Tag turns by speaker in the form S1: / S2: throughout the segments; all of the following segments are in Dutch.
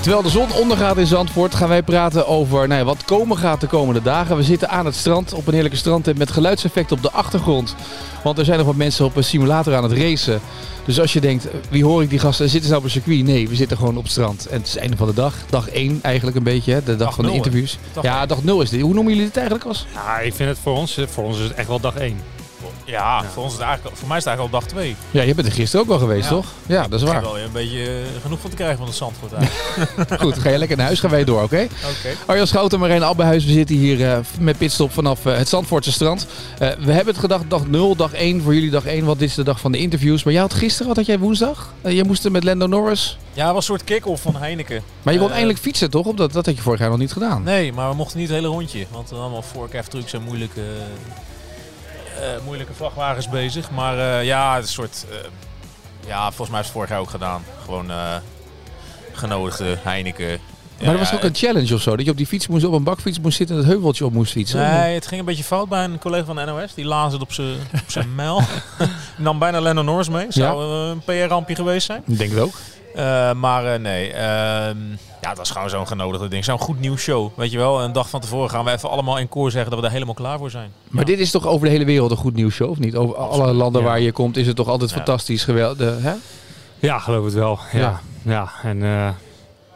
S1: Terwijl de zon ondergaat in Zandvoort gaan wij praten over nou ja, wat komen gaat de komende dagen. We zitten aan het strand, op een heerlijke strandtent met geluidseffecten op de achtergrond. Want er zijn nog wat mensen op een simulator aan het racen. Dus als je denkt, wie hoor ik die gasten? Zitten ze nou op een circuit? Nee, we zitten gewoon op het strand. En het is het einde van de dag. Dag 1 eigenlijk een beetje, hè? de dag,
S2: Dag
S1: van de
S2: nul, hè?
S1: interviews.
S2: Dag
S1: ja,
S2: één.
S1: dag 0 is dit. Hoe noemen jullie dit eigenlijk als?
S3: Ja, ik vind het voor ons, eh, voor ons is het echt wel dag één.
S2: Ja,
S3: Ja.
S2: Voor, ons is het eigenlijk, al- voor mij is het eigenlijk al dag twee.
S1: Ja, je bent er gisteren ook wel geweest,
S2: Ja.
S1: toch? Ja, dat is
S2: Ik heb
S1: waar.
S2: wel weer een beetje eh, genoeg van te krijgen van het Zandvoort eigenlijk.
S1: Goed, ga je lekker naar huis, gaan wij door, oké?
S2: Oké.
S1: Arjan Schouten, Marijn Abbehuis, we zitten hier eh, met pitstop vanaf eh, het Zandvoortse strand. Eh, we hebben het gedacht, dag 0, dag 1, voor jullie dag 1, want dit is de dag van de interviews. Maar jij had gisteren, wat had jij woensdag? Eh, jij moest er met Lando Norris.
S2: Ja, het was een soort kick-off van Heineken.
S1: Maar je kon
S2: Eh,
S1: eindelijk fietsen, toch? Op dat, dat had je vorig jaar nog niet gedaan.
S2: Nee, maar we mochten niet het hele rondje. Want er waren allemaal voorkef trucs en moeilijke, eh, eh, moeilijke vrachtwagens bezig. Maar eh, ja, het is een soort... eh, ja, volgens mij is het vorig jaar ook gedaan. Gewoon eh, genodigde Heineken. Ja,
S1: maar er was
S2: ja,
S1: ook een challenge of zo, dat je op die fiets moest, op een bakfiets moest zitten en het heuveltje op moest fietsen.
S2: Nee, het ging een beetje fout bij een collega van de NOS. Die lazen het op zijn- op zijn mijl. Nam bijna Lennon Norris mee. Zou eh, een PR-rampje geweest zijn.
S1: Ik denk het ook.
S2: Eh, maar eh, nee, ehm, ja, dat is gewoon zo'n genodigde ding. Zo'n goed nieuws show, weet je wel. Een dag van tevoren gaan we even allemaal in koor zeggen dat we er helemaal klaar voor zijn.
S1: Maar dit is toch over de hele wereld een goed nieuws show, of niet? Over alle landen
S3: Ja.
S1: waar je komt is het toch altijd
S2: Ja.
S1: fantastisch geweldig, hè?
S3: Ja, geloof het wel. Ja,
S1: Ja.
S3: ja. en eh,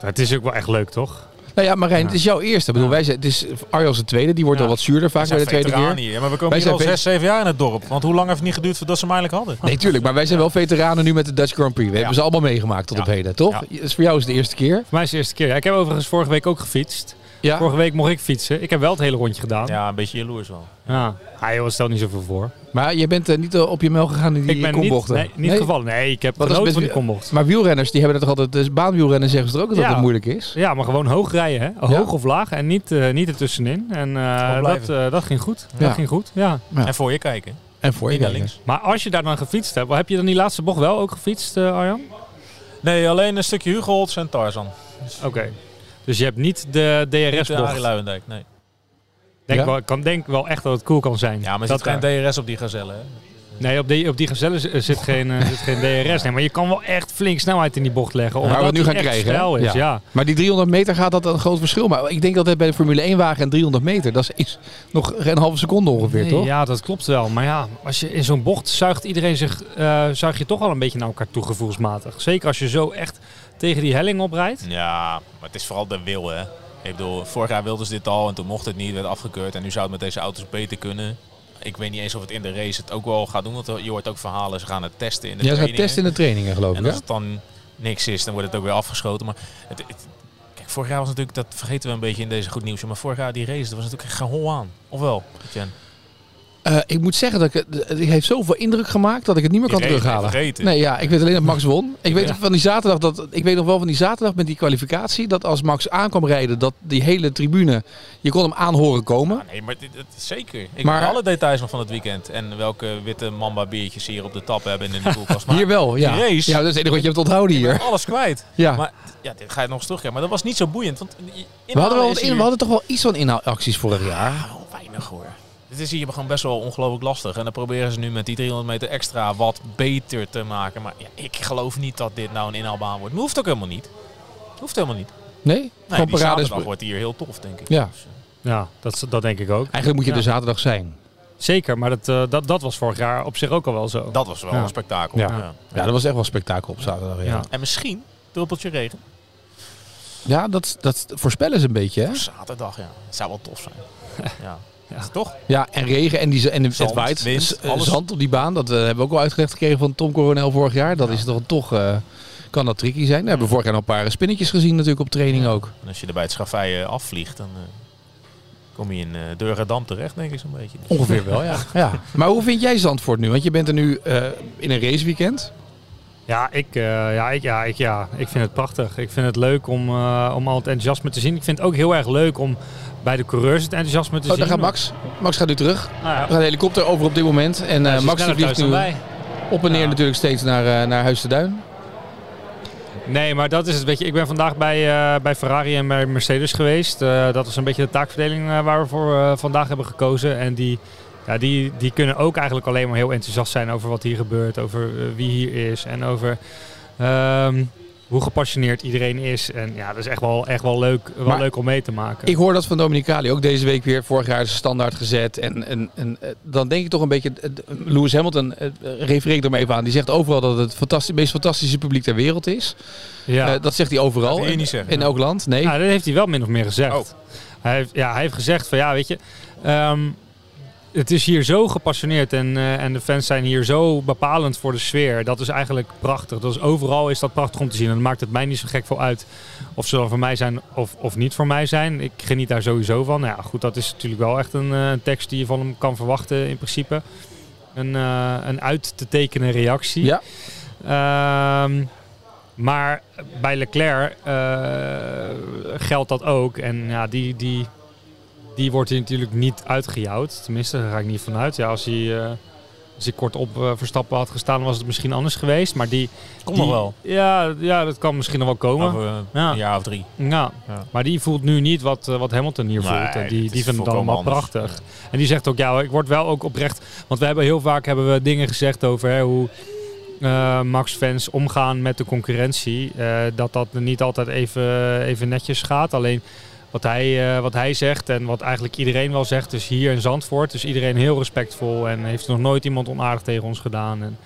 S3: het is ook wel echt leuk, toch?
S1: Nou ja, Marijn,
S3: Ja.
S1: het is jouw eerste. Ik bedoel, wij zijn, het is Arjan zijn tweede, die wordt
S3: Ja.
S1: al wat zuurder vaak bij de tweede keer.
S2: veteranen hier. Maar we komen
S1: Wij
S2: hier al
S1: zijn
S2: zes, zeven jaar in het dorp. Want hoe lang heeft het niet geduurd voordat ze hem eindelijk hadden?
S1: Nee, tuurlijk. Maar wij zijn wel veteranen nu met de Dutch Grand Prix. We hebben ze allemaal meegemaakt tot
S2: Ja.
S1: op heden, toch? Dus voor jou is het de eerste keer.
S3: Voor mij is het de eerste keer. Ja, ik heb overigens vorige week ook gefietst.
S1: Ja.
S3: Vorige week mocht ik fietsen. Ik heb wel het hele rondje gedaan. Ja.
S2: Ja, een beetje jaloers wel.
S3: Ah, joh, het stelt niet zoveel voor.
S1: Maar je bent eh, niet eh, op je mel gegaan in die
S3: ik ben niet,
S1: kombochten.
S3: nee, niet gevallen. Nee, ik heb
S1: Wat
S3: Wat
S1: is
S3: genoten
S1: met-
S3: van die kombocht.
S1: Maar wielrenners, die hebben dat toch altijd... Dus baanwielrenners zeggen ze toch ook dat
S3: Ja.
S1: het moeilijk is?
S3: Ja, maar gewoon hoog rijden, hè? Hoog of laag en niet, eh, niet ertussenin. En eh, dat,
S2: blijven.
S3: eh, dat ging goed.
S1: Ja.
S3: Dat ging goed, ja.
S1: Ja.
S2: En voor je kijken.
S1: En voor je
S2: Niet naar
S1: links.
S2: links.
S3: Maar als je daar dan gefietst hebt, heb je dan die laatste bocht wel ook gefietst, eh, Arjan?
S2: Nee, alleen een stukje Hugo Holtz en Tarzan.
S3: Oké. Dus je hebt niet de
S2: Niet de Arie
S3: DRS-bocht.
S2: Luijendijk, nee.
S3: Denk
S1: Ja?
S3: wel, ik kan denk wel echt dat het cool kan zijn.
S2: Ja, maar er
S3: dat
S2: zit geen DRS op die gazelle, hè?
S3: daar- Nee, op die, op die gezellen z- eh, zit geen, eh, zit geen DRS. Nee, maar je kan wel echt flink snelheid in die bocht leggen.
S1: Waar we
S3: Omdat
S1: het nu
S3: die
S1: gaan
S3: echt
S1: krijgen, hè?
S3: Stijl is,
S1: Ja.
S3: ja.
S1: Maar die 300 meter gaat dat een groot verschil. Maar ik denk dat het bij de Formule 1-wagen en 300 meter... Dat is nog een halve seconde ongeveer,
S3: Nee,
S1: toch?
S3: Ja, dat klopt wel. Maar ja, als je in zo'n bocht zuigt iedereen zich, eh zuig je toch al een beetje naar elkaar toe gevoelsmatig. Zeker als je zo echt tegen die helling oprijdt.
S2: Ja, maar het is vooral de wil, hè? Ik bedoel, vorig jaar wilden ze dit al en toen mocht het niet, werd afgekeurd. En nu zou het met deze auto's beter kunnen. Ik weet niet eens of het in de race het ook wel gaat doen, want je hoort ook verhalen. Ze gaan het testen in de
S1: Ja, ze gaan
S2: trainingen.
S1: testen in de trainingen, geloof ik.
S2: En
S1: hè?
S2: als het dan niks is, dan wordt het ook weer afgeschoten. Maar het, het- kijk, vorig jaar was natuurlijk, dat vergeten we een beetje in deze goed nieuws. Maar vorig jaar die race, er was natuurlijk geen hol aan. Ofwel, Jen?
S1: Eh, ik moet zeggen dat ik, het- het heeft zoveel indruk gemaakt dat ik het niet meer kan
S2: Die race,
S1: terughalen.
S2: vergeten.
S1: Nee, ja, ik weet alleen dat Max won. Ik weet,
S2: Ja.
S1: van die zaterdag dat, ik weet nog wel van die zaterdag met die kwalificatie. Dat als Max aankwam rijden, dat die hele tribune. Je kon hem aanhoren komen.
S2: Ah, nee, maar dit, dit- zeker. Ik
S1: Maar-
S2: maar, alle details nog van het weekend. En welke witte mamba biertjes ze hier op de tap hebben en in de koelkast. Maar
S1: hier wel, ja.
S2: die race-
S1: Ja, dat is het enige wat je hebt onthouden hier.
S2: alles kwijt.
S1: Ja.
S2: Maar ja, dit ga je nog eens terugkijken. Maar dat was niet zo boeiend. Want inhoud
S1: we, hadden wel wat
S2: is
S1: in,
S2: hier-
S1: we hadden toch wel iets van inhoudacties vorig jaar.
S2: Ah, weinig hoor. Dit is hier gewoon best wel ongelooflijk lastig. En dan proberen ze nu met die 300 meter extra wat beter te maken. Maar ja, ik geloof niet dat dit nou een inhaalbaan wordt. Maar hoeft ook helemaal niet. Hoeft helemaal niet.
S1: Nee?
S2: Nee,
S1: Gewoon
S2: die
S1: parades.
S2: zaterdag wordt hier heel tof, denk ik.
S1: Ja.
S2: Dus, eh,
S3: Ja, dat, dat denk ik ook.
S1: Eigenlijk moet je
S3: Ja.
S1: er zaterdag zijn.
S3: Zeker, maar dat, eh, dat, dat was vorig jaar op zich ook al wel zo.
S2: dat was wel
S3: Ja.
S2: een spektakel.
S1: Ja.
S2: Ja.
S1: Ja, dat was echt wel spektakel op zaterdag. Ja, ja.
S3: Ja.
S2: En misschien druppeltje regen.
S1: dat, dat voorspellen ze een beetje. Hè?
S2: Zaterdag, ja. Het zou wel tof zijn. ja. Ja, toch?
S1: Ja, en regen en, die, z- en de-
S2: Zand,
S1: het waait.
S2: wind,
S1: Z- eh,
S2: alles.
S1: Zand op die baan, dat eh, hebben we ook al uitgelegd gekregen van Tom Coronel vorig jaar. Dat is toch, toch eh, kan dat tricky zijn. We hebben vorig jaar nog een paar eh, spinnetjes gezien natuurlijk op training ook.
S2: En als je er bij het schafij eh, afvliegt, dan eh, kom je in eh Deurgadam terecht, denk ik zo'n beetje. Dus-
S1: Ongeveer wel, ja. ja. Maar hoe vind jij Zandvoort nu? Want je bent er nu eh, in een raceweekend. Oh,
S3: Ja, ik, eh, ja, ik, ja, ik, ja, ik vind het prachtig. Ik vind het leuk om, eh, om al het enthousiasme te zien. Ik vind het ook heel erg leuk om bij de coureurs het enthousiasme te
S1: Oh,
S3: zien.
S1: daar gaat Max. Max gaat nu terug.
S3: Nou ja,
S1: Er gaat een helikopter over op dit moment. En eh,
S3: hij is
S1: Max die
S3: sneller thuis
S1: vliegt
S3: dan
S1: nu
S3: wij.
S1: op en neer
S3: Ja.
S1: natuurlijk steeds naar, eh, naar Huis de Duin.
S3: Nee, maar dat is het. Weet je, ik ben vandaag bij, eh, bij Ferrari en bij Mercedes geweest. Eh, dat was een beetje de taakverdeling eh, waar we voor eh, vandaag hebben gekozen. En die, ja, die, die kunnen ook eigenlijk alleen maar heel enthousiast zijn over wat hier gebeurt. Over eh, wie hier is en over ehm, hoe gepassioneerd iedereen is. En ja, dat is echt wel, echt wel, leuk, wel
S1: Maar
S3: leuk om mee te maken.
S1: Ik hoor dat van Dominicali ook deze week weer. Vorig jaar is standaard gezet. En, en, en eh, dan denk ik toch een beetje. eh, Lewis Hamilton eh, refereert er maar even aan. Die zegt overal dat het fantastisch, meest fantastische publiek ter wereld is.
S3: ja.
S1: Eh, dat zegt hij overal.
S2: Dat wil je
S1: In-
S2: niet zeggen,
S1: in
S2: ja.
S1: elk land. Nee.
S3: Ja, Nou, dat heeft hij wel min of meer gezegd.
S2: Oh.
S3: Hij, heeft, ja, hij heeft gezegd van ja, weet je, ehm, het is hier zo gepassioneerd en, eh, en de fans zijn hier zo bepalend voor de sfeer. Dat is eigenlijk prachtig. Dat is, overal is dat prachtig om te zien. En dan maakt het mij niet zo gek veel uit of ze dan voor mij zijn of, of niet voor mij zijn. Ik geniet daar sowieso van. Nou Ja, goed, dat is natuurlijk wel echt een eh, tekst die je van hem kan verwachten in principe. Een, eh, een uit te tekenen reactie.
S1: Ja.
S3: Ehm, maar bij Leclerc eh, geldt dat ook. En ja, die, die, die wordt hier natuurlijk niet uitgejouwd. Tenminste, daar ga ik niet vanuit. Ja, als hij, eh, als hij kort op eh, Verstappen had gestaan, was het misschien anders geweest. Maar die,
S2: Komt
S3: die-
S2: nog wel.
S3: Ja, ja, dat kan misschien nog wel komen.
S2: Over eh,
S3: Ja.
S2: een jaar of drie.
S3: Ja,
S2: Ja.
S3: maar die voelt nu niet wat, eh, wat Hamilton hier
S2: Nee,
S3: voelt. En
S2: dit
S3: die,
S2: is
S3: die vindt het
S2: volkomen
S3: allemaal
S2: anders.
S3: prachtig. En die zegt ook, ja, ik word wel ook oprecht... Want we hebben heel vaak hebben we dingen gezegd over hè, hoe eh, Max-fans omgaan met de concurrentie. Eh, dat dat niet altijd even, even netjes gaat. Alleen wat hij, eh, wat hij zegt en wat eigenlijk iedereen wel zegt, dus hier in Zandvoort, is iedereen heel respectvol. En heeft nog nooit iemand onaardig tegen ons gedaan. En,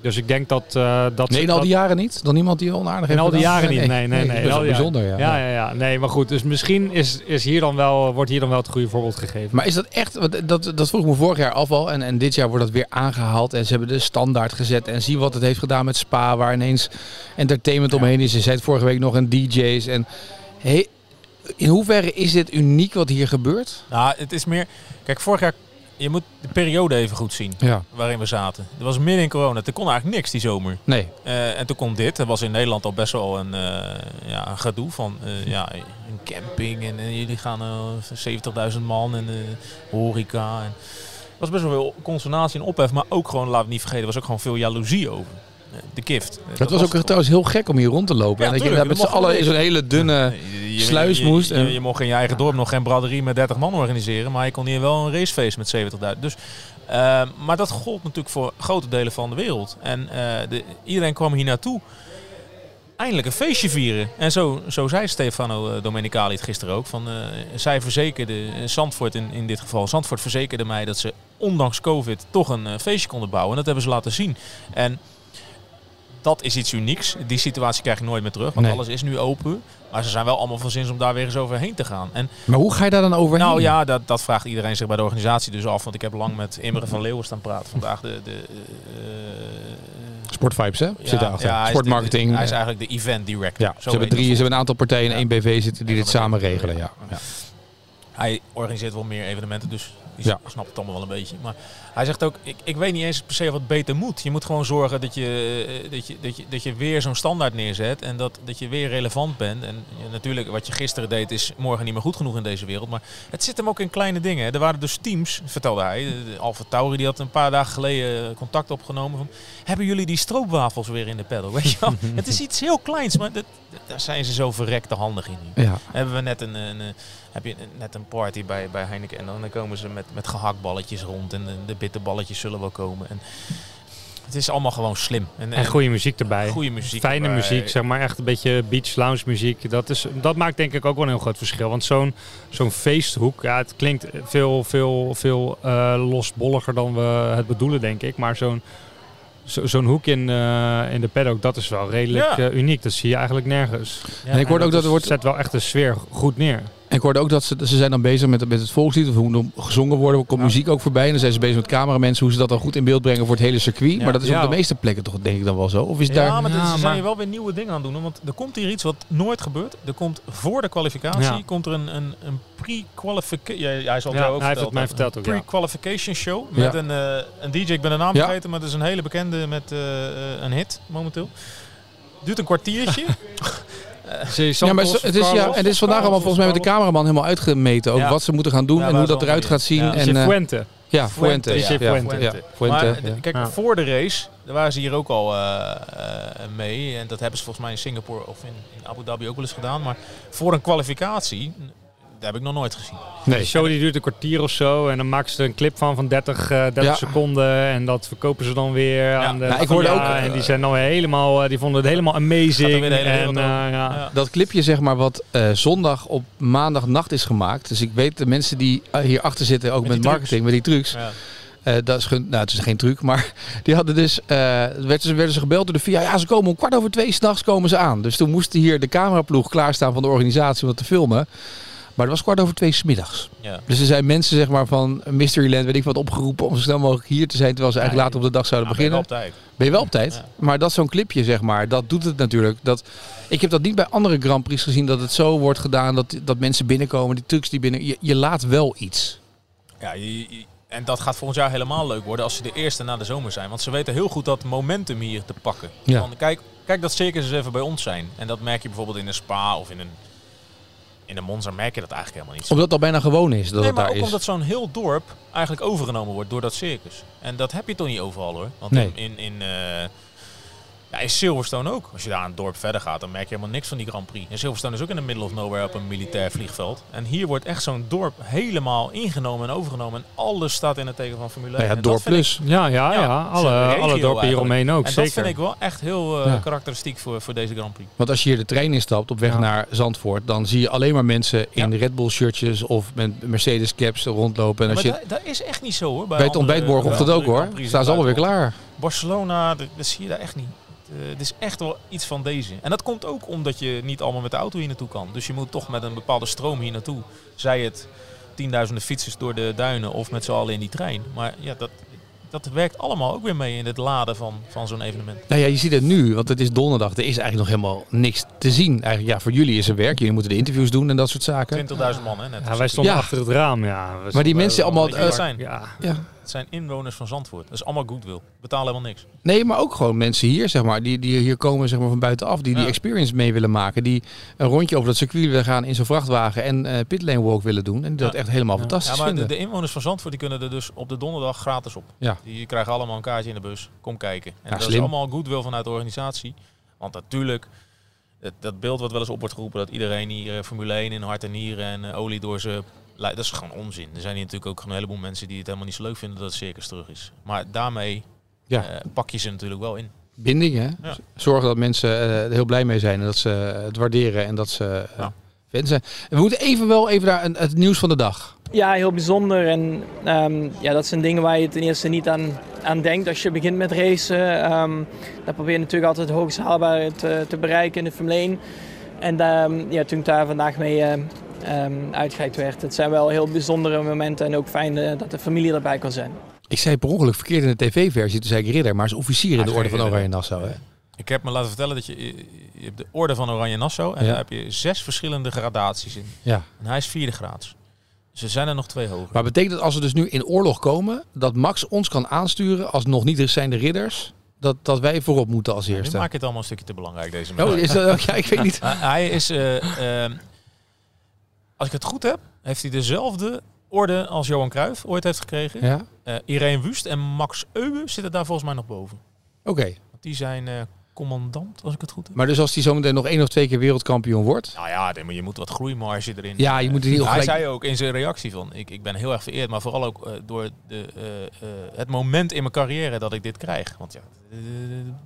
S3: dus ik denk dat... eh, dat
S1: Nee, in al die jaren niet. Dan iemand die onaardig heeft.
S3: al die
S1: gedaan?
S3: jaren niet. Nee, nee, nee.
S1: Dat is
S3: Al
S1: wel
S3: die
S1: bijzonder, ja.
S3: ja, ja, ja. Nee, maar goed. Dus misschien is, is hier dan wel, wordt hier dan wel het goede voorbeeld gegeven.
S1: Maar is dat echt, want dat, dat vroeg ik me vorig jaar af al. En, en dit jaar wordt dat weer aangehaald. En ze hebben de standaard gezet. En zie wat het heeft gedaan met Spa, waar ineens entertainment omheen is. Je zei het vorige week nog en DJ's. En he- in hoeverre is dit uniek wat hier gebeurt?
S2: Nou, het is meer... Kijk, vorig jaar... Je moet de periode even goed zien
S1: Ja.
S2: waarin we zaten. Er was midden in corona. Er kon eigenlijk niks die zomer.
S1: Nee.
S2: Eh, en toen komt dit. Er was in Nederland al best wel een, eh, ja, een gedoe van eh, ja, een camping. En, eh, jullie gaan eh 70.000 man en eh, horeca. En, er was best wel veel consternatie en ophef. Maar ook gewoon, laten we niet vergeten, er was ook gewoon veel jaloezie over. Eh, De gift. Eh,
S1: Dat, was ook
S2: het
S1: trouwens heel gek om hier rond te lopen.
S2: Ja,
S1: en dat je
S2: tuurlijk,
S1: daar met z'n
S2: dat mocht
S1: allen in zo'n hele dunne...
S2: Je- je-
S1: sluis
S2: je- je-
S1: moest
S2: Je,
S1: en-
S2: je mocht in je eigen dorp nog geen braderie met 30 man organiseren. Maar je kon hier wel een racefeest met 70.000. Dus, eh, maar dat gold natuurlijk voor grote delen van de wereld. En eh, de, iedereen kwam hier naartoe. Eindelijk een feestje vieren. En zo, zo zei Stefano eh, Domenicali het gisteren ook. Van, eh, zij verzekerde, eh, Zandvoort in, in dit geval, Zandvoort verzekerde mij dat ze ondanks COVID toch een eh, feestje konden bouwen. En dat hebben ze laten zien. En dat is iets unieks. Die situatie krijg ik nooit meer terug, want
S1: Nee.
S2: alles is nu open. Maar ze zijn wel allemaal van zins om daar weer eens overheen te gaan. En
S1: Maar hoe ga je daar dan overheen?
S2: nou ja, dat, dat vraagt iedereen zich bij de organisatie dus af. Want ik heb lang met Imre van Leeuwen staan praten vandaag. De, de, eh,
S1: Sportvibes, hè? Zit daarachter.
S2: hij is de-
S1: Sportmarketing.
S2: hij is eigenlijk de event director.
S1: ja.
S2: Zo
S1: Ze hebben,
S2: heet
S1: drie, ze
S2: het.
S1: hebben een aantal partijen en één BV zitten die
S2: Ja,
S1: dit
S2: dat
S1: samen
S2: is-
S1: regelen. Ja. Ja.
S2: Hij organiseert wel meer evenementen, dus die
S1: Ja.
S2: snapt het allemaal wel een beetje. Maar hij zegt ook, ik, ik weet niet eens per se wat beter moet. Je moet gewoon zorgen dat je, eh, dat je, dat je, dat je weer zo'n standaard neerzet en dat, dat je weer relevant bent. En ja, natuurlijk, wat je gisteren deed is morgen niet meer goed genoeg in deze wereld. Maar het zit hem ook in kleine dingen. hè. Er waren dus teams, vertelde hij. De- de Alfa Tauri die had een paar dagen geleden eh, contact opgenomen. Van, Hebben jullie die stroopwafels weer in de pedal? Weet je wel? het is iets heel kleins, maar dat, daar zijn ze zo verrekte handig in.
S1: Ja.
S2: Hebben we net een, een, eh, heb je een- net een party bij, bij Heineken en dan dan komen ze met, met gehaktballetjes rond en de, de bitterballetjes zullen wel komen. En het is allemaal gewoon slim.
S3: En goede muziek erbij.
S2: goede muziek.
S3: Fijne
S2: erbij.
S3: muziek, zeg maar echt een beetje beach lounge muziek. Dat, is, dat maakt denk ik ook wel een heel groot verschil. Want zo'n zo'n feesthoek, ja, het klinkt veel, veel, veel eh, losbolliger dan we het bedoelen, denk ik. Maar zo'n zo- zo'n hoek in, eh, in de paddock, dat is wel redelijk
S2: Ja.
S3: eh, uniek. Dat zie je eigenlijk nergens.
S2: Ja,
S1: en ik hoorde ook dat er
S3: is-
S1: wordt
S3: zet wel echt de sfeer goed neer.
S1: En ik hoorde ook dat ze, ze zijn dan bezig met, met het volkslied, of hoe er gezongen wordt, er komt
S2: Ja.
S1: muziek ook voorbij. En dan zijn ze bezig met cameramensen, hoe ze dat dan goed in beeld brengen voor het hele circuit.
S2: Ja.
S1: Maar dat is
S3: Ja.
S1: op de meeste plekken toch denk ik dan wel zo. Of is
S2: Ja,
S1: daar...
S2: maar
S3: Ja,
S2: dit- ze zijn
S3: maar-
S2: hier wel weer nieuwe dingen aan het doen. hoor, Want er komt hier iets wat nooit gebeurt. Er komt voor de kwalificatie
S3: Ja.
S2: komt er een, een, een pre-qualification... Ja, hij zal het
S3: Ja,
S2: jou ook
S3: hij heeft
S2: verteld
S3: het mij
S2: hebben.
S3: verteld ook, ja.
S2: pre-qualification show
S1: Ja.
S2: met een, eh, een DJ. Ik ben de naam
S1: Ja.
S2: vergeten, maar dat is een hele bekende met eh, eh, een hit momenteel. Duurt een kwartiertje.
S1: Ja, maar het is, ja, en dit is vandaag allemaal volgens mij met de cameraman helemaal uitgemeten. Ook
S2: Ja.
S1: wat ze moeten gaan doen
S2: Ja,
S1: en
S2: waar
S1: hoe
S2: ze
S1: dat eruit
S2: allemaal
S1: gaat zien.
S2: in- ja.
S1: En, eh,
S3: Fuente.
S1: ja,
S2: Fuente,
S1: Fuente.
S3: ja.
S1: Fuente.
S2: Fuente.
S1: Ja, Fuente,
S2: maar,
S1: ja.
S2: eh, Kijk,
S3: Ja.
S2: voor de race daar waren ze hier ook al eh, eh, mee. En dat hebben ze volgens mij in Singapore of in, in Abu Dhabi ook wel eens gedaan. Maar voor een kwalificatie dat heb ik nog nooit gezien.
S3: De
S1: Nee.
S3: show die duurt een kwartier of zo en dan maken ze er een clip van van 30, eh, 30
S1: Ja.
S3: seconden en dat verkopen ze dan weer aan de
S1: Nou, ik hoorde
S3: media.
S1: ook, eh,
S3: en die zijn dan weer helemaal, eh, die vonden het helemaal
S2: Gaat er
S3: amazing.
S2: weer de hele
S3: en,
S2: wereld
S3: eh,
S2: over.
S3: ja.
S2: Ja.
S1: Dat clipje, zeg maar, wat eh, zondag op maandagnacht is gemaakt. Dus ik weet de mensen die eh, hierachter zitten, ook
S2: Met
S1: met,
S2: die
S1: marketing, met die trucs.
S2: Ja.
S1: Eh, dat is geen, nou, het is geen truc, maar die hadden dus, eh, werden, ze, werden ze gebeld door de VIA. Ja, ze komen om kwart over twee s'nachts komen ze aan. Dus toen moest hier de cameraploeg klaarstaan van de organisatie om dat te filmen. Maar het was kwart over twee smiddags.
S2: Ja.
S1: Dus er zijn mensen zeg maar, van Mysteryland, weet ik wat, opgeroepen om zo snel mogelijk hier te zijn. Terwijl ze eigenlijk later op de dag zouden
S2: Nou, ben je
S1: beginnen.
S2: op tijd.
S1: Ben je wel op tijd.
S2: Ja.
S1: Maar dat zo'n clipje, zeg maar, dat doet het natuurlijk. Dat, ik heb dat niet bij andere Grand Prix gezien dat het zo wordt gedaan dat, dat mensen binnenkomen, die trucs die binnen. Je, je laat wel iets.
S2: Ja, je- je- en dat gaat volgend jaar helemaal leuk worden als ze de eerste na de zomer zijn. Want ze weten heel goed dat momentum hier te pakken.
S1: Ja.
S2: Van, kijk, kijk dat circus eens even bij ons zijn. En dat merk je bijvoorbeeld in een spa of in een, in een Monza merk je dat eigenlijk helemaal niet. zo.
S1: Omdat het al bijna gewoon is dat
S2: nee,
S1: het
S2: maar
S1: daar
S2: ook
S1: is.
S2: omdat zo'n heel dorp eigenlijk overgenomen wordt door dat circus. En dat heb je toch niet overal hoor. Want
S1: Nee.
S2: in, in, in, eh, ja, in Silverstone ook. Als je daar een dorp verder gaat, dan merk je helemaal niks van die Grand Prix. En Silverstone is ook in the middle of nowhere op een militair vliegveld. En hier wordt echt zo'n dorp helemaal ingenomen en overgenomen. En alles staat in het teken van Formule 1.
S1: Nou ja,
S2: En
S1: door
S2: dat vind ik-
S1: plus.
S3: Ja, ja,
S2: Ja,
S3: ja.
S2: het is een regio
S3: Alle, alle dorpen
S2: eigenlijk.
S3: hieromheen ook,
S2: en
S3: zeker.
S2: dat vind ik wel echt heel eh,
S1: Ja.
S2: karakteristiek voor, voor deze Grand Prix.
S1: Want als je hier de trein instapt op weg
S3: Ja.
S1: naar Zandvoort, dan zie je alleen maar mensen in Red Bull shirtjes of met Mercedes caps rondlopen. En
S2: maar
S1: als je
S2: dat, dat is echt niet zo hoor.
S1: bij het ontbijt morgen of dat ook hoor, staan ze allemaal weer
S2: klaar.
S1: klaar.
S2: Barcelona, dat, dat zie je daar echt niet. Eh, Het is echt wel iets van deze. En dat komt ook omdat je niet allemaal met de auto hier naartoe kan. Dus je moet toch met een bepaalde stroom hier naartoe. Zij het tienduizenden fietsers door de duinen of met z'n allen in die trein. Maar ja, dat, dat werkt allemaal ook weer mee in het laden van, van zo'n evenement.
S1: Nou ja, je ziet het nu, want het is donderdag. Er is eigenlijk nog helemaal niks te zien. Eigenlijk, ja, voor jullie is er werk. Jullie moeten de interviews doen en dat soort zaken.
S2: 20.000 man, hè? Net
S3: Ja, wij stonden
S1: Ja.
S3: achter het raam, ja. We
S1: Maar die
S3: stonden-
S1: mensen allemaal...
S2: Weet je wie het
S1: eh,
S2: zijn?
S3: Ja,
S1: ja.
S2: Het zijn inwoners van Zandvoort. Dat is allemaal goodwill. Betalen helemaal niks.
S1: Nee, maar ook gewoon mensen hier, zeg maar, die, die hier komen zeg maar, van buitenaf, die die
S2: Ja.
S1: experience mee willen maken. Die een rondje over dat circuit willen gaan in zo'n vrachtwagen en eh pitlane walk willen doen. En die dat
S2: Ja.
S1: echt helemaal
S3: Ja.
S1: fantastisch
S2: Ja, maar de,
S1: vinden.
S2: de inwoners van Zandvoort die kunnen er dus op de donderdag gratis op.
S1: Ja.
S2: Die krijgen allemaal een kaartje in de bus. Kom kijken. En dat is
S1: slim.
S2: allemaal goodwill vanuit de organisatie. Want natuurlijk, het, dat beeld wat wel eens op wordt geroepen... dat iedereen hier eh, Formule 1 in hart en nieren en eh, olie door zijn... lei- Dat is gewoon onzin. Er zijn hier natuurlijk ook een heleboel mensen die het helemaal niet zo leuk vinden dat het circus terug is. Maar daarmee
S1: Ja.
S2: eh, pak je ze natuurlijk wel in.
S1: Binding, hè?
S2: Ja.
S1: Zorgen dat mensen eh, er heel blij mee zijn en dat ze het waarderen en dat ze eh,
S2: Ja.
S1: fan zijn. En we moeten even wel even naar een- het nieuws van de dag.
S4: Ja, heel bijzonder. En ehm, ja, dat zijn dingen waar je ten eerste niet aan, aan denkt als je begint met racen. Ehm dan probeer je natuurlijk altijd het hoogst haalbare te, te bereiken in de Formule 1. En ehm, ja, toen ik daar vandaag mee ehm, ehm, uitgereikt werd, het zijn wel heel bijzondere momenten. En ook fijn eh, dat de familie erbij kan zijn.
S1: Ik zei per ongeluk verkeerd in de tv-versie, toen zei ik ridder, maar is officier in
S2: Ah,
S1: de
S2: dat
S1: orde
S2: is
S1: van
S2: geen
S1: Oranje
S2: ridder.
S1: Nassau. Hè?
S2: Ik heb me laten vertellen dat je, je hebt de orde van Oranje Nassau... en
S1: Ja.
S2: daar heb je zes verschillende gradaties in.
S1: Ja.
S2: En hij is vierde graads. Dus er zijn er nog twee hoger.
S1: Maar betekent dat als we dus nu in oorlog komen, dat Max ons kan aansturen als nog niet zijnde ridders, dat, dat wij voorop moeten als
S2: Nu
S1: eerste?
S2: maak je het allemaal een stukje te belangrijk deze
S1: Oh,
S2: middag.
S1: is dat, ja, ik weet niet.
S2: Hij- hij is, eh, ehm, als ik het goed heb, heeft hij dezelfde orde als Johan Cruijff ooit heeft gekregen. Eh
S1: Ja? Oké.
S2: Irene Wust en Max Euwe zitten daar volgens mij nog boven. Want die zijn eh, commandant, als ik het goed heb.
S1: Maar dus als hij zometeen nog één of twee keer wereldkampioen wordt.
S2: Nou ja, nee, maar je moet wat groeimarge erin.
S1: Ja, je moet er niet
S2: hij
S1: gelijk-
S2: zei ook in zijn reactie van, ik, ik ben heel erg vereerd, maar vooral ook eh, door de, eh, eh, het moment in mijn carrière dat ik dit krijg. Want ja, eh,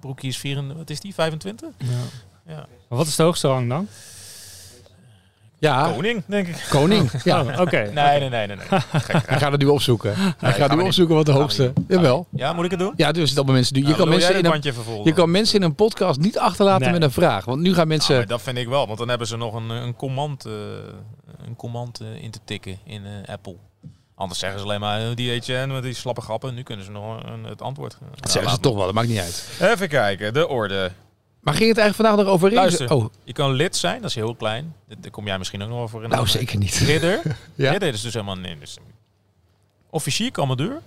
S2: Broekie is 24, wat is die, 25? Ja.
S3: Maar wat is de hoogste rang dan?
S1: Ja,
S2: Koning, denk ik.
S1: koning. Ja.
S3: Oh, Oké.
S2: Nee, nee, nee, nee. nee.
S1: Hij gaat het nu opzoeken. Hij
S2: gaan
S1: gaat
S2: we
S1: nu
S2: niet
S1: opzoeken wat de
S2: Gaan we
S1: hoogste.
S2: niet
S1: Jawel.
S2: Nou, Ja, moet ik het doen?
S1: Ja, dus dat mensen doen. Je,
S2: Nou,
S1: kan
S2: wil jij
S1: mensen in
S2: dat
S1: een,
S2: bandje vervolgen?
S1: je kan mensen in een podcast niet achterlaten
S3: Nee.
S1: met een vraag. Want nu gaan mensen.
S2: Nou, maar dat vind ik wel, want dan hebben ze nog een, eh, een command, eh, een command eh, in te tikken in eh, Apple. Anders zeggen ze alleen maar eh, DHN met die slappe grappen. Nu kunnen ze nog een- het antwoord. eh, nou,
S1: dat zeggen ze
S2: laten
S1: toch wel, dat maakt niet uit.
S2: we- Even kijken, de orde.
S1: Maar ging het eigenlijk vandaag nog over racen?
S2: Luister.
S1: Oh,
S2: Je kan lid zijn, dat is heel klein. Dit- Daar kom jij misschien ook nog wel voor in.
S1: nou zeker niet.
S2: Ridder.
S1: Ja.
S2: Ridder is dus helemaal... Nee, dus officier, commandeur.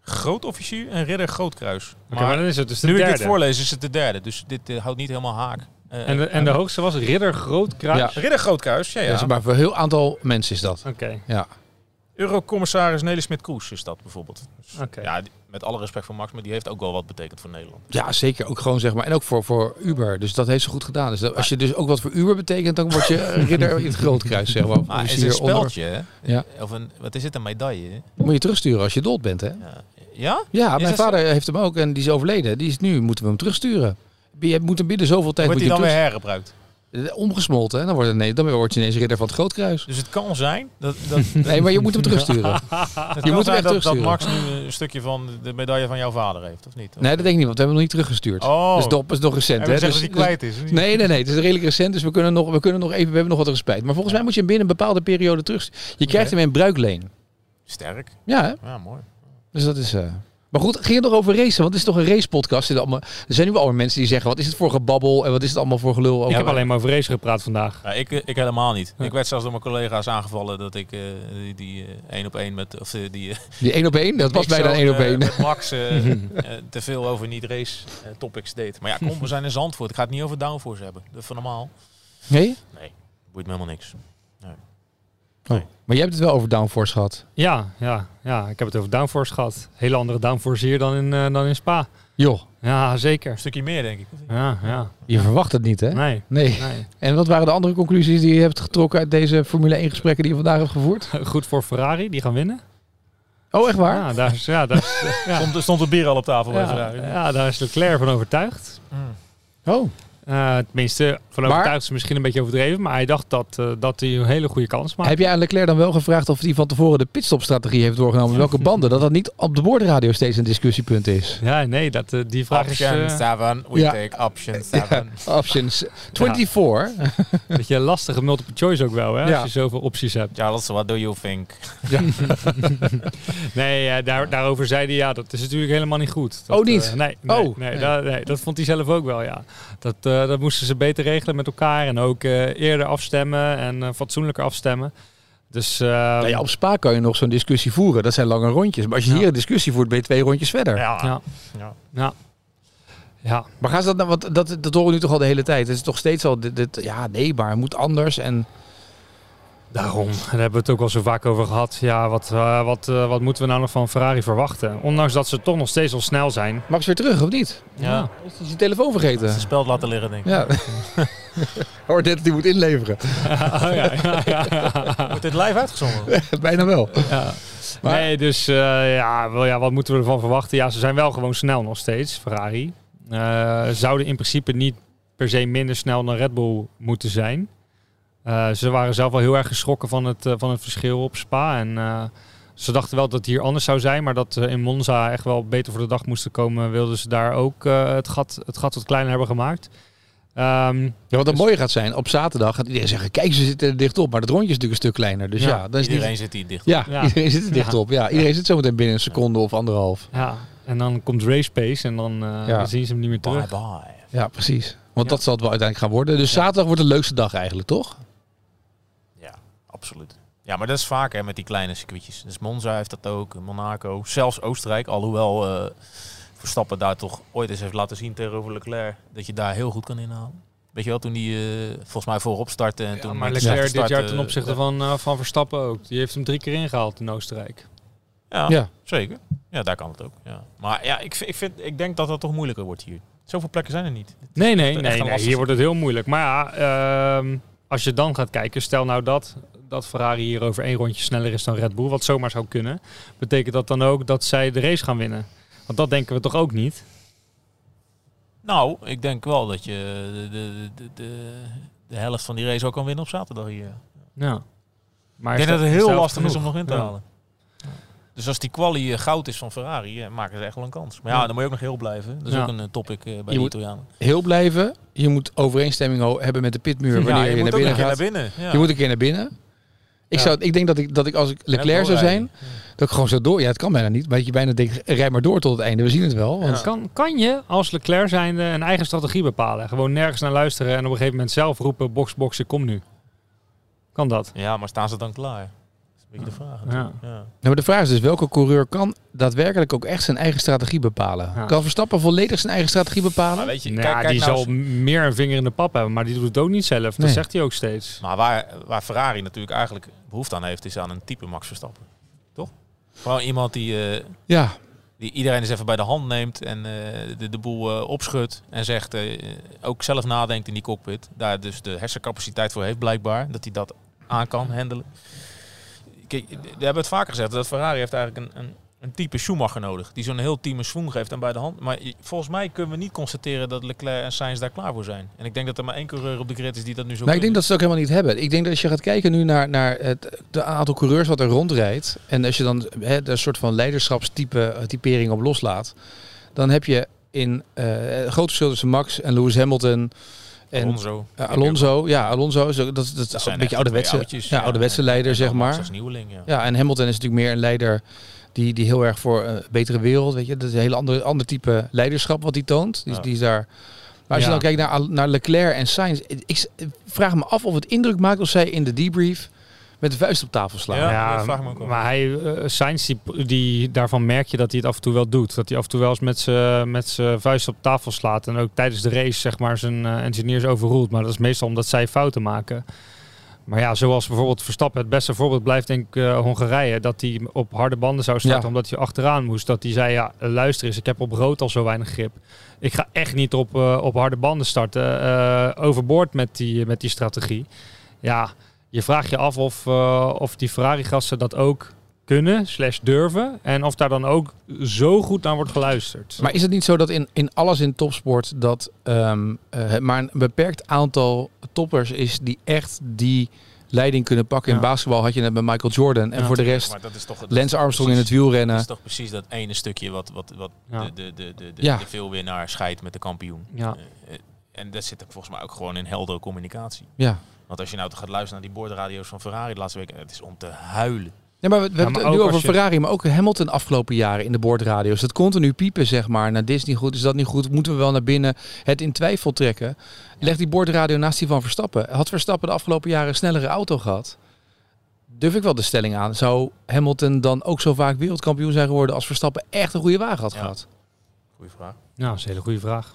S2: Groot officier en ridder groot kruis.
S3: Oké, maar dan is het dus de
S2: nu ik
S3: derde.
S2: dit voorlees is het de derde. Dus dit eh, houdt niet helemaal haak. Eh,
S3: en, de, en de hoogste was Ridder Groot Kruis.
S1: Ja.
S2: Ridder groot kruis, ja, ja.
S1: Dat is maar voor een heel aantal mensen is dat.
S3: Oké.
S1: Ja.
S2: Eurocommissaris Nelly Smit-Kroes is dat bijvoorbeeld. Dus,
S1: Ah,
S3: Oké.
S2: Ja, die- met alle respect voor Max, maar die heeft ook wel wat betekend voor Nederland.
S1: Ja, zeker. Ook gewoon zeg maar. En ook voor, voor Uber. Dus dat heeft ze goed gedaan. Dus dat- als je dus ook wat voor Uber betekent, dan word je ridder in het grootkruis, zeg maar. Dus Of
S2: Maar het
S1: je
S2: is een
S1: hieronder-
S2: speldje, hè?
S1: Ja.
S2: Of een, wat is het, een medaille? hè?
S1: Moet je terugsturen als je dood bent, hè?
S2: Ja? ja?
S1: Ja, mijn
S2: dat zo?
S1: vader heeft hem ook en die is overleden. Die is nu, moeten we hem terugsturen. Je moet hem binnen zoveel tijd...
S2: Wordt die
S1: moet
S2: dan
S1: je
S2: weer
S1: hem
S2: hergebruikt?
S1: terug- Eh, Omgesmolten, hè? Dan, wordt het, nee, dan word je ineens ridder van het grootkruis.
S2: Dus het kan zijn dat, dat, dat,
S1: Nee, maar je moet hem terugsturen.
S2: het
S1: hem
S2: kan
S1: echt
S2: zijn dat, dat
S1: terugsturen.
S2: Max nu een stukje van de medaille van jouw vader heeft, of niet? Of-
S1: Nee, dat denk ik niet, want we hebben hem nog niet teruggestuurd.
S2: Oh,
S1: Dus dat is nog recent,
S2: en
S1: hè?
S2: we zeggen
S1: Dus-
S2: dat hij
S1: dus-
S2: kwijt is. of niet?
S1: Nee, nee, nee. Het is redelijk recent, dus we kunnen nog, we kunnen nog even, we hebben nog wat respect. Maar volgens mij moet je hem binnen een bepaalde periode terugsturen. Je krijgt hem in bruikleen.
S2: Sterk.
S1: Ja, hè?
S2: Ja, mooi.
S1: Dus dat is. eh, Maar goed, ging het nog over racen? Want het is toch een racepodcast? Dit allemaal- Er zijn nu wel allemaal mensen die zeggen: wat is het voor gebabbel en wat is het allemaal voor gelul?
S2: Oh,
S3: Ik
S1: Over-
S3: heb alleen maar over race gepraat vandaag.
S2: Ja, ik, eh, ik helemaal niet. Ik werd zelfs door mijn collega's aangevallen dat ik eh, die- die eh, één op één met... Of eh, die, eh,
S1: Die één op één, dat was
S2: ik
S1: bijna
S2: zo,
S1: één op
S2: eh,
S1: één.
S2: met Max eh, eh, te veel over niet-race eh, topics deed. Maar ja, kom, we zijn in Zandvoort. Ik ga het niet over downforce hebben. Dat is van normaal.
S1: Nee?
S2: Boeit me helemaal niks.
S1: Maar jij hebt het wel over downforce gehad.
S3: Ja, ja, ja, ik heb het over downforce gehad. Hele andere downforce hier dan in, eh, dan in Spa.
S1: Joh,
S3: Ja, zeker.
S2: Een stukje meer, denk ik.
S3: Ja, ja.
S1: je verwacht het niet, hè?
S3: Nee,
S1: Nee.
S3: nee.
S1: En wat waren de andere conclusies die je hebt getrokken uit deze Formule 1 gesprekken die je vandaag hebt gevoerd?
S3: Goed voor Ferrari, die gaan winnen.
S1: Oh, echt waar?
S3: Ja, daar is, ja, daar is, ja.
S2: Stond, er stond het bier al op tafel. bij
S3: Ja,
S2: Ferrari.
S3: ja, daar is Leclerc van overtuigd.
S2: Mm.
S1: Oh,
S3: Eh, tenminste, van
S1: Maar-
S3: overtuigd is misschien een beetje overdreven. Maar hij dacht dat, eh, dat hij een hele goede kans maakte.
S1: heb jij aan Leclerc dan wel gevraagd of hij van tevoren de pitstopstrategie heeft doorgenomen? Welke banden? Dat dat niet op de boordradio steeds een discussiepunt is.
S3: Ja, nee, dat, eh, die vraag is eh,
S2: 7, we
S1: ja.
S2: take option
S1: Options 24.
S3: een beetje lastige multiple choice ook wel. Hè,
S1: Ja.
S3: Als je zoveel opties hebt.
S2: Charles, what do you think?
S3: Nee, eh, daar, daarover zei hij ja, dat is natuurlijk helemaal niet goed. Dat,
S1: Oh, niet?
S3: eh, nee, nee,
S1: Oh,
S3: nee,
S1: nee.
S3: da- nee, dat vond hij zelf ook wel, ja. Dat, eh, dat moesten ze beter regelen met elkaar en ook eh, eerder afstemmen en eh, fatsoenlijker afstemmen. Dus eh,
S1: Nou ja, op Spa kan je nog zo'n discussie voeren. Dat zijn lange rondjes. Maar als je
S3: Ja.
S1: hier een discussie voert, ben je twee rondjes verder.
S2: Ja.
S3: ja. ja. Ja.
S1: Maar gaan ze dat nou, want dat, dat horen we nu toch al de hele tijd. Het is toch steeds al, dit, dit- ja nee, maar het moet anders. En
S3: Daarom. Daar hebben we het ook wel zo vaak over gehad. Ja, wat, eh, wat, eh, wat moeten we nou nog van Ferrari verwachten? Ondanks dat ze toch nog steeds al snel zijn.
S1: Max weer terug, of niet?
S2: Ja.
S1: Is hij zijn telefoon vergeten?
S2: Het speld laten liggen, denk ik.
S1: Ja. Hoor dit, die moet inleveren.
S3: Oh, ja, ja, ja,
S2: Wordt dit live uitgezonden?
S1: Bijna wel.
S3: ja.
S1: Maar-
S3: Nee, dus eh, ja, wel, ja, wat moeten we ervan verwachten? Ja, ze zijn wel gewoon snel nog steeds, Ferrari. Eh, zouden in principe niet per se minder snel dan Red Bull moeten zijn. Eh, ze waren zelf wel heel erg geschrokken van het, eh, van het verschil op Spa. En eh, ze dachten wel dat het hier anders zou zijn, maar dat ze in Monza echt wel beter voor de dag moesten komen, wilden ze daar ook eh, het, gat, het gat wat kleiner hebben gemaakt. Ehm,
S1: Ja, wat het
S3: Dus-
S1: mooie gaat zijn, op zaterdag gaat iedereen zeggen, kijk ze zitten er dicht op. Maar dat rondje is natuurlijk een stuk kleiner. Dus ja,
S3: Ja,
S1: dan is het niet-
S2: Iedereen zit hier dicht.
S1: ja,
S3: Ja.
S1: iedereen zit er dicht
S3: Ja.
S1: op. Ja, iedereen zit zometeen binnen een seconde of anderhalf.
S3: ja, en dan komt race pace en dan, eh, dan zien ze hem niet meer terug.
S2: Bye bye.
S1: Ja, precies. Want
S3: Ja.
S1: dat zal het wel uiteindelijk gaan worden. Dus zaterdag wordt de leukste dag eigenlijk, toch?
S2: Ja, absoluut. Ja, maar dat is vaak hè, met die kleine circuitjes. Dus Monza heeft dat ook, Monaco, zelfs Oostenrijk. Alhoewel eh, Verstappen daar toch ooit eens heeft laten zien tegenover Leclerc... dat je daar heel goed kan inhalen. Weet je wel, toen die eh, volgens mij voorop startte... En
S3: Ja,
S2: toen
S3: maar
S2: met
S3: Leclerc
S2: slechte
S3: dit
S2: start,
S3: jaar ten
S2: eh,
S3: opzichte van, eh, van Verstappen ook. Die heeft hem drie keer ingehaald in Oostenrijk.
S2: Ja,
S1: Ja.
S2: zeker. Ja, daar kan het ook. Ja. Maar ja, ik, vind- ik, vind, ik denk dat dat toch moeilijker wordt hier. Zoveel plekken zijn er niet.
S3: Nee, nee,
S2: echt
S3: nee,
S2: een
S3: nee.
S2: lastig.
S3: Hier wordt het heel moeilijk. Maar ja, ehm, als je dan gaat kijken, stel nou dat, dat Ferrari hier over één rondje sneller is dan Red Bull, wat zomaar zou kunnen. Betekent dat dan ook dat zij de race gaan winnen? Want dat denken we toch ook niet?
S2: Nou, ik denk wel dat je de, de, de, de, de helft van die race ook kan winnen op zaterdag hier.
S3: Ja. Maar
S2: Ik
S3: is
S2: denk dat het
S3: is
S2: heel
S3: helft
S2: lastig is om
S3: genoeg?
S2: nog in te
S3: Ja.
S2: halen. Dus als die quali eh, goud is van Ferrari, eh, maken ze echt wel een kans. Maar ja,
S3: Ja.
S2: dan moet je ook nog heel blijven. Dat is
S3: Ja.
S2: ook een eh, topic eh, bij
S1: Je
S2: de
S1: moet
S2: Italianen.
S1: Heel blijven. Je moet overeenstemming ho- hebben met de pitmuur wanneer
S2: Ja,
S1: je, naar
S2: moet ook
S1: binnen
S2: een keer
S1: gaat.
S2: naar binnen. Ja.
S1: Je moet een keer naar binnen. Ik,
S3: Ja.
S1: zou, ik denk dat ik, dat ik als ik Leclerc zou zijn, dat ik gewoon zo door. Ja, het kan bijna niet. Maar dat je bijna denkt, rij maar door tot het einde. We zien het wel. Want
S2: Ja.
S3: Kan, kan je als Leclerc zijnde een eigen strategie bepalen? Gewoon nergens naar luisteren en op een gegeven moment zelf roepen, box, boxen, kom nu. Kan dat?
S2: Ja, maar staan ze dan klaar? Dat is een beetje de vraag. natuurlijk.
S3: Ja.
S2: Ja.
S1: Nou, maar de vraag is dus, welke coureur kan daadwerkelijk ook echt zijn eigen strategie bepalen?
S3: Ja.
S1: Kan Verstappen volledig zijn eigen strategie
S2: Maar
S1: bepalen?
S2: weet je,
S3: Nou,
S2: kijk,
S3: ja,
S2: kijk
S3: die
S2: nou
S3: zal
S2: eens-
S3: m- meer een vinger in de pap hebben, maar die doet het ook niet zelf.
S1: Nee.
S3: Dat zegt hij ook steeds.
S2: Maar waar, waar Ferrari natuurlijk eigenlijk behoefte aan heeft, is aan een type Max Verstappen. Toch? Gewoon iemand die... eh,
S1: Ja,
S2: Die iedereen eens even bij de hand neemt en eh, de, de boel eh, opschudt. En zegt, eh, ook zelf nadenkt in die cockpit. Daar dus de hersencapaciteit voor heeft blijkbaar. Dat hij dat aan kan handelen. Kijk, we hebben het vaker gezegd. Dat Ferrari heeft eigenlijk een, een, een type Schumacher nodig. Die zo'n heel team een swoon geeft en bij de hand. Maar je- volgens mij kunnen we niet constateren dat Leclerc en Sainz daar klaar voor zijn. En ik denk dat er maar één coureur op de grid is die dat nu zo
S1: Maar ik denk
S2: kunnen.
S1: dat ze het ook helemaal niet hebben. Ik denk dat als je gaat kijken nu naar, naar het de aantal coureurs wat er rondrijdt. En als je dan hè, een soort van leiderschapstype eh, typering op loslaat. Dan heb je in eh, een groot verschil tussen Max en Lewis Hamilton. En
S2: Alonso.
S1: eh, Alonso, ja, Alonso is ook- dat, dat, is
S2: zijn
S1: een
S2: echt
S1: beetje ouderwetse,
S2: twee oudjes,
S1: ja,
S2: ja.
S1: ouderwetse leider, zeg maar.
S2: Dat is nieuweling, ja.
S1: Ja, en Hamilton is natuurlijk meer een leider die, die heel erg voor een betere wereld, weet je. Dat is een heel ander, ander type leiderschap wat hij toont. Die, is-
S2: Ja.
S1: die is daar... Maar als
S3: Ja.
S1: je dan kijkt naar, Al- naar Leclerc en Sainz, ik- ik s- vraag me af of het indruk maakt of zij in de debrief met de vuist op tafel slaan.
S2: Ja, dat vraag ik me ook af.
S3: maar hij, eh, Sainz, die, die, daarvan merk je dat hij het af en toe wel doet. Dat hij af en toe wel eens met zijn met z'n vuist op tafel slaat. En ook tijdens de race, zeg maar, zijn eh, engineers overroelt. Maar dat is meestal omdat zij fouten maken. Maar ja, zoals bijvoorbeeld Verstappen, het beste voorbeeld blijft denk ik eh, Hongarije. Dat hij op harde banden zou starten
S1: Ja.
S3: omdat hij achteraan moest. Dat hij zei, ja, luister eens, ik heb op rood al zo weinig grip. Ik ga echt niet op, eh, op harde banden starten. eh, overboord met die, met die strategie. Ja, je vraagt je af of, eh, of die Ferrari-gasten dat ook kunnen, slash durven. En of daar dan ook zo goed naar wordt geluisterd.
S1: Maar is het niet zo dat in, in alles in topsport dat ehm, eh, het maar een beperkt aantal toppers is die echt die leiding kunnen pakken? In
S3: Ja.
S1: basketbal had je het met Michael Jordan en
S3: Ja,
S1: voor de rest
S2: Maar dat is toch, dat is
S1: Lance
S2: toch
S1: Armstrong in het
S2: precies-
S1: wielrennen.
S2: Dat is toch precies dat ene stukje wat, wat, wat
S3: Ja.
S2: de, de, de, de, de,
S1: Ja.
S2: de veelwinnaar scheidt met de kampioen.
S3: ja.
S2: Eh, eh, en dat zit er volgens mij ook gewoon in heldere communicatie.
S1: Ja.
S2: Want als je nou gaat luisteren naar die boordradio's van Ferrari de laatste week, het is om te huilen.
S1: Nee, maar we, we
S3: Ja,
S1: hebben
S3: maar
S1: het nu
S3: ook
S1: over
S3: als je-
S1: Ferrari, maar ook Hamilton afgelopen jaren in de boordradio's. Dat continu piepen, zeg maar. Naar Disney goed, is dat niet goed? Moeten we wel naar binnen het in twijfel trekken? Leg die boordradio naast die van Verstappen. Had Verstappen de afgelopen jaren een snellere auto gehad? Durf ik wel de stelling aan. Zou Hamilton dan ook zo vaak wereldkampioen zijn geworden als Verstappen echt een goede wagen had
S2: Ja.
S1: gehad?
S2: Goeie vraag.
S3: Nou, dat is een hele goede vraag.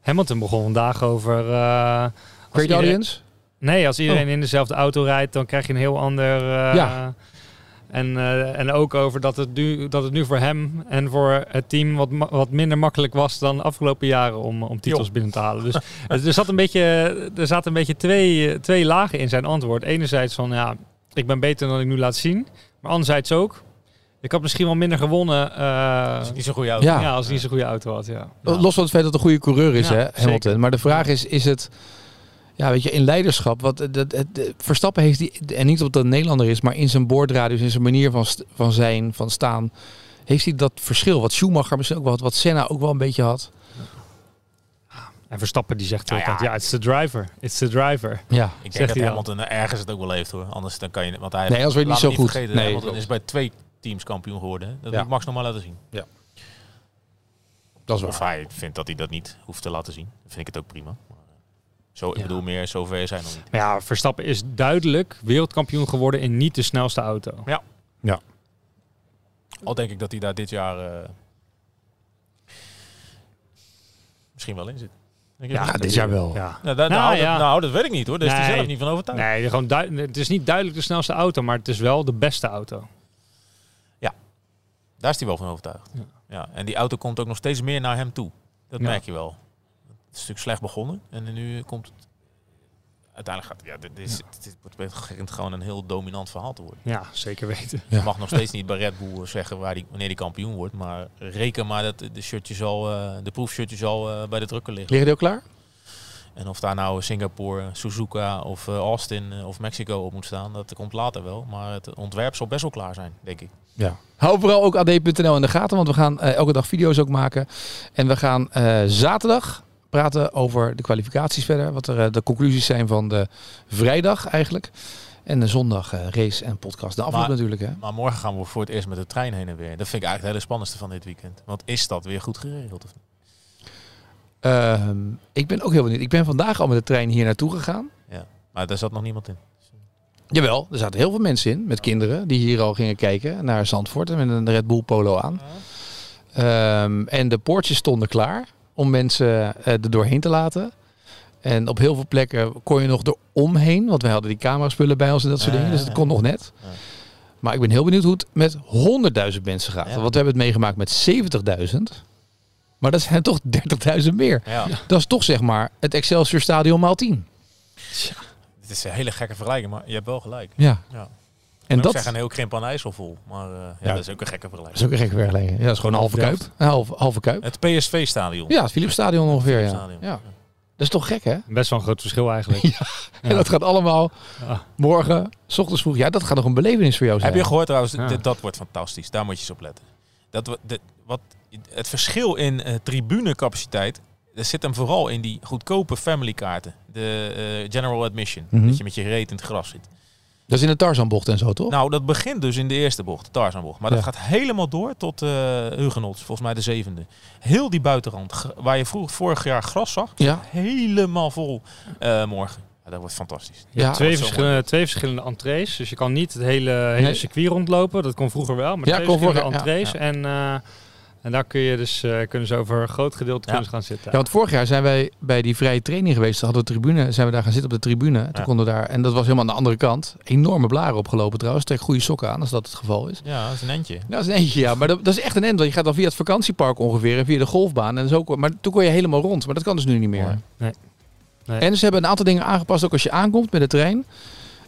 S3: Hamilton begon vandaag over... eh, als
S1: Great
S3: iedereen-
S1: audience?
S3: Nee, als iedereen in dezelfde auto rijdt, dan krijg je een heel ander... eh,
S1: Ja.
S3: En, eh, en ook over dat het, nu, dat het nu voor hem en voor het team wat, ma- wat minder makkelijk was dan de afgelopen jaren om, om titels binnen te halen. Dus eh, er zat een beetje, er zaten een beetje twee, eh, twee lagen in zijn antwoord. Enerzijds van ja, ik ben beter dan ik nu laat zien. Maar anderzijds ook, ik had misschien wel minder gewonnen eh,
S2: Dat is niet zo'n goede auto.
S1: Ja. Oh.
S3: ja. als het niet zo'n goede auto had. Ja.
S1: Los van het feit dat het een goede coureur is,
S3: Ja,
S1: hè,
S3: zeker.
S1: Hamilton. Maar de vraag is, is het... Ja, weet je, in leiderschap. Wat, eh, dat, het- eh, Verstappen heeft die... En niet op dat een Nederlander is, maar in zijn boordradius, in zijn manier van, st- van zijn, van staan... Heeft hij dat verschil, wat Schumacher misschien ook wel had, wat Senna ook wel een beetje had.
S3: En Verstappen die zegt
S2: Nou
S3: altijd,
S2: ja.
S3: ja, it's the driver, it's the driver.
S1: Ja.
S2: Ik
S3: Zegt
S2: denk dat
S3: hij al.
S2: Hamilton ergens het ook wel heeft hoor. Anders dan kan je... Want hij
S1: Nee, als we het niet
S2: laat
S1: zo
S2: me
S1: goed.
S2: Vergeten,
S1: nee,
S2: Hamilton is bij twee teams kampioen geworden. Hè? Dat
S1: Ja.
S2: moet Max nog maar laten zien.
S1: dat is
S2: Of
S1: waar.
S2: hij vindt dat hij dat niet hoeft te laten zien. Dan vind ik het ook prima. Maar, eh, zo, ik
S3: Ja.
S2: bedoel meer, zover zijn we nog niet.
S3: Maar ja, Verstappen is duidelijk wereldkampioen geworden in niet de snelste auto.
S2: Al denk ik dat hij daar dit jaar eh, misschien wel in zit. Denk je dat?
S1: dit jaar wel.
S3: Ja.
S2: Nou, da-
S3: Nou,
S2: nou,
S3: ja.
S2: dat, nou, dat weet ik niet hoor. Daar is hij
S3: Nee.
S2: zelf niet van overtuigd.
S3: Nee, gewoon duid- het is niet duidelijk de snelste auto, maar het is wel de beste auto.
S2: Daar is hij wel van overtuigd.
S3: Ja.
S2: Ja. En die auto komt ook nog steeds meer naar hem toe. Dat
S3: Ja.
S2: merk je wel. Het is natuurlijk slecht begonnen. En nu komt het... Uiteindelijk gaat... Ja, dit, is, dit wordt- begint gewoon een heel dominant verhaal te worden.
S3: Ja, zeker weten.
S1: Ja.
S2: Je mag nog steeds niet bij Red Bull zeggen waar die, wanneer die kampioen wordt. Maar reken maar dat de shirtjes al, eh, de proefshirtjes al eh, bij de drukker liggen.
S1: Liggen die ook klaar?
S2: En of daar nou Singapore, Suzuka of eh, Austin eh, of Mexico op moet staan, dat komt later wel. Maar het ontwerp zal best wel klaar zijn, denk ik.
S1: Ja. Hou vooral ook AD.nl in de gaten, want we gaan eh, elke dag video's ook maken. En we gaan eh, zaterdag praten over de kwalificaties verder. Wat er, eh, de conclusies zijn van de vrijdag eigenlijk. En de zondag eh, race en podcast. De afloop
S2: Maar-
S1: natuurlijk hè.
S2: Maar morgen gaan we voor het eerst met de trein heen en weer. Dat vind ik eigenlijk het hele spannendste van dit weekend. Want is dat weer goed geregeld of niet?
S1: Ehm, ik ben ook heel benieuwd. Ik ben vandaag al met de trein hier naartoe gegaan.
S2: Maar daar zat nog niemand in.
S1: Jawel, er zaten heel veel mensen in met kinderen die hier al gingen kijken naar Zandvoort en met een Red Bull polo aan. Ehm, en de poortjes stonden klaar om mensen eh, er doorheen te laten. En op heel veel plekken kon je nog eromheen, want wij hadden die camera-spullen bij ons en dat soort
S2: Ah,
S1: dingen. Dus
S2: ja.
S1: dat kon nog net.
S2: Ja.
S1: Maar ik ben heel benieuwd hoe het met 100.000 mensen gaat.
S2: Ja.
S1: Want we hebben het meegemaakt met 70.000. Maar dat zijn toch 30.000 meer.
S2: Ja.
S1: Dat is toch zeg maar het Excelsior Stadion maal 10.
S2: Het is een hele gekke vergelijking, maar je hebt wel gelijk.
S1: Ja.
S2: Ja.
S1: En
S2: dat
S1: dat
S2: zeggen een heel krimp aan IJssel vol. Maar eh, ja,
S1: Ja.
S2: dat is ook een gekke
S1: dat is
S2: vergelijking.
S1: ook een gek vergelijking. Ja, dat is gewoon een halve
S3: Ja.
S1: kuip. Een halve, halve kuip.
S2: Het PSV-stadion.
S1: Ja, het Philipsstadion ongeveer. Ja.
S2: Philipsstadion.
S1: ja. Dat is toch gek hè?
S3: Best wel een groot verschil eigenlijk. Ah.
S1: En dat gaat allemaal
S3: Ja.
S1: morgen, s ochtends vroeg. Ja, dat gaat nog een belevenis voor jou zijn.
S2: Heb je gehoord trouwens,
S3: Ja.
S2: dit- dat wordt fantastisch. Daar moet je eens op letten. Dat, we- de- wat, het verschil in eh, tribunecapaciteit dat zit hem vooral in die goedkope familykaarten. De eh, general admission.
S1: Mhm.
S2: Dat je met je reet in het gras zit.
S1: Dat is in de Tarzanbocht en zo toch?
S2: Nou, dat begint dus in de eerste bocht, de Tarzanbocht. Maar dat
S1: Ja.
S2: gaat helemaal door tot eh Hugenots, volgens mij de zevende. Heel die buitenrand, g- waar je vroeg, vorig jaar gras zag,
S1: ja.
S2: helemaal vol eh, morgen. Ja, dat wordt fantastisch.
S1: Ja.
S3: twee,
S2: dat is wel
S3: verschillende, twee verschillende entrees. Dus je kan niet het hele, hele
S1: Nee.
S3: circuit rondlopen. Dat kon vroeger wel. Maar
S1: Ja,
S3: twee
S1: kon vroeger,
S3: verschillende entrees. En, eh, en daar kun je dus, eh, kunnen ze over een groot gedeelte
S2: Ja.
S3: kunnen ze gaan zitten.
S1: Ja, want vorig jaar zijn wij bij die vrije training geweest. Toen hadden we tribune, zijn we daar gaan zitten op de tribune. Toen
S2: Ja.
S1: konden we daar, en dat was helemaal aan de andere kant. Enorme blaren opgelopen trouwens. Trek goede sokken aan als dat het geval is.
S2: Ja, dat is een eindje.
S1: Ja, Nou, dat is een eentje, ja. Maar dat, dat is echt een end. Want je gaat dan via het vakantiepark ongeveer en via de golfbaan. En zo, maar toen kon je helemaal rond. Maar dat kan dus nu niet meer.
S2: Mooi.
S3: Nee. Nee.
S1: En ze hebben een aantal dingen aangepast. Ook als je aankomt met de trein.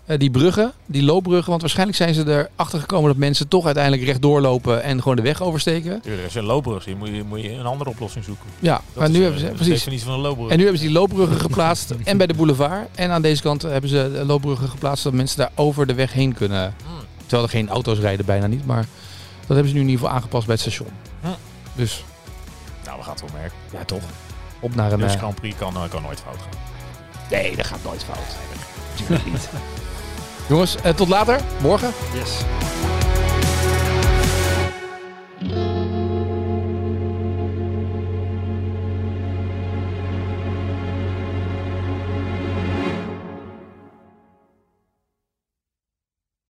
S1: Eh, die bruggen, die loopbruggen. Want waarschijnlijk zijn ze erachter gekomen dat mensen toch uiteindelijk rechtdoor lopen. En gewoon de weg oversteken.
S2: Tuurlijk, als je een loopbrug ziet, moet je, moet je een andere oplossing zoeken.
S1: Ja,
S2: Dat
S1: maar
S2: is,
S1: nu
S2: eh,
S1: hebben ze...
S2: de
S1: Precies.
S2: definitie van een loopbrug.
S1: En nu hebben ze die loopbruggen geplaatst. en bij de boulevard. En aan deze kant hebben ze de loopbruggen geplaatst. Zodat mensen daar over de weg heen kunnen.
S2: Hmm.
S1: Terwijl er geen auto's rijden, bijna niet. Maar dat hebben ze nu in ieder geval aangepast bij het station.
S2: Hm.
S1: Dus
S2: Nou, we gaan het wel merken.
S1: ja, toch. Op naar een.
S2: Dus
S1: eh,
S2: Grand Prix kan, eh, kan nooit fout gaan.
S1: nee, dat gaat nooit fout. Jongens, eh, tot later. eh, Morgen.
S3: Yes.